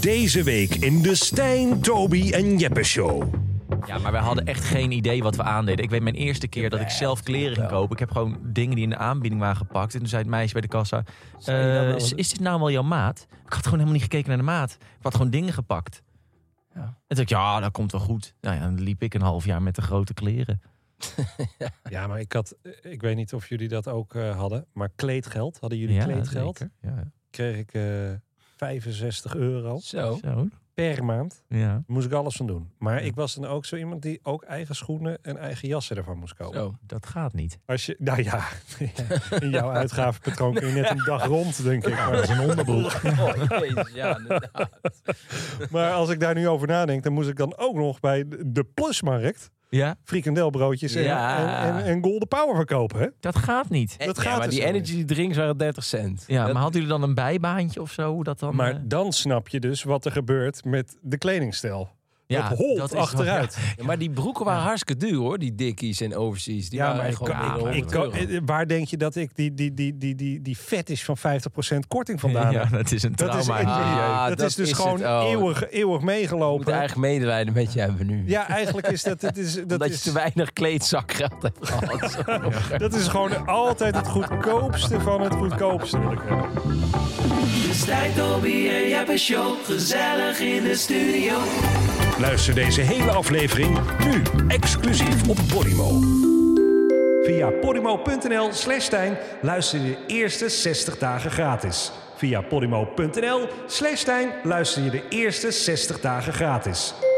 Deze week in de Stijn, Toby en Jeppe Show. Ja, maar wij hadden echt geen idee wat we aandeden. Ik weet mijn eerste keer dat ik zelf kleren ging kopen. Ik heb gewoon dingen die in de aanbieding waren gepakt. En toen zei het meisje bij de kassa: je nou eh, wel- is, is dit nou wel jouw maat? Ik had gewoon helemaal niet gekeken naar de maat. Ik had gewoon dingen gepakt. Ja. En toen dacht ik, ja, dat komt wel goed. Nou ja, dan liep ik een half jaar met de grote kleren. Ja, maar ik had, ik weet niet of jullie dat ook eh, hadden, maar kleedgeld. Hadden jullie ja, kleedgeld? zeker. Ja, Kreeg ik eh, 65 euro Zo. zo. per maand. Ja, Moest ik alles van doen. Maar ik was dan ook zo iemand die ook eigen schoenen en eigen jassen ervan moest kopen. Zo. dat gaat niet. Als je, nou ja, in jouw uitgavenpatroon kun je net een dag rond, denk ik. Maar, een onderbroek. Oh, jezus, ja, inderdaad. maar als ik daar nu over nadenk, dan moest ik dan ook nog bij de de plusmarkt Ja, frikandelbroodjes en, Ja. Mm. en, en, en golden power verkopen. Hè? dat gaat niet. Dat Ja, gaat maar dus die niet. energy drinks waren 30 cent. Ja, Dat- maar hadden jullie dan een bijbaantje of zo? Hoe dat dan, eh, Maar dan snap je dus wat er gebeurt met de kledingstijl. ja, dat holt is- achteruit. Ja, maar die broeken waren hartstikke duur hoor, die dickies en overseas. Die Ja, waren maar ik gewoon kan- binnen ik 100 kan, euro. eh, waar denk je dat ik die, die, die, die, die, die vet is van 50% korting vandaan Ja, heb? dat is een Dat is, trauma. ik- Ah, dat dat is dus is gewoon het. Oh. eeuwig, eeuwig We moeten meegelopen. eigenlijk medelijden met je hebben nu. Ja, eigenlijk is dat... dat, is, dat, Omdat je is, te weinig kleedzakgeld hebt gehad. dat is gewoon altijd het goedkoopste van het goedkoopste. wil ik zeggen. Stijn, Toby en Jeppe Show. Gezellig in de studio. Luister deze hele aflevering nu exclusief op Podimo. Via podimo.nl slash Stijn luister je de eerste 60 dagen gratis. Via podimo.nl slash Stijn luister je de eerste 60 dagen gratis.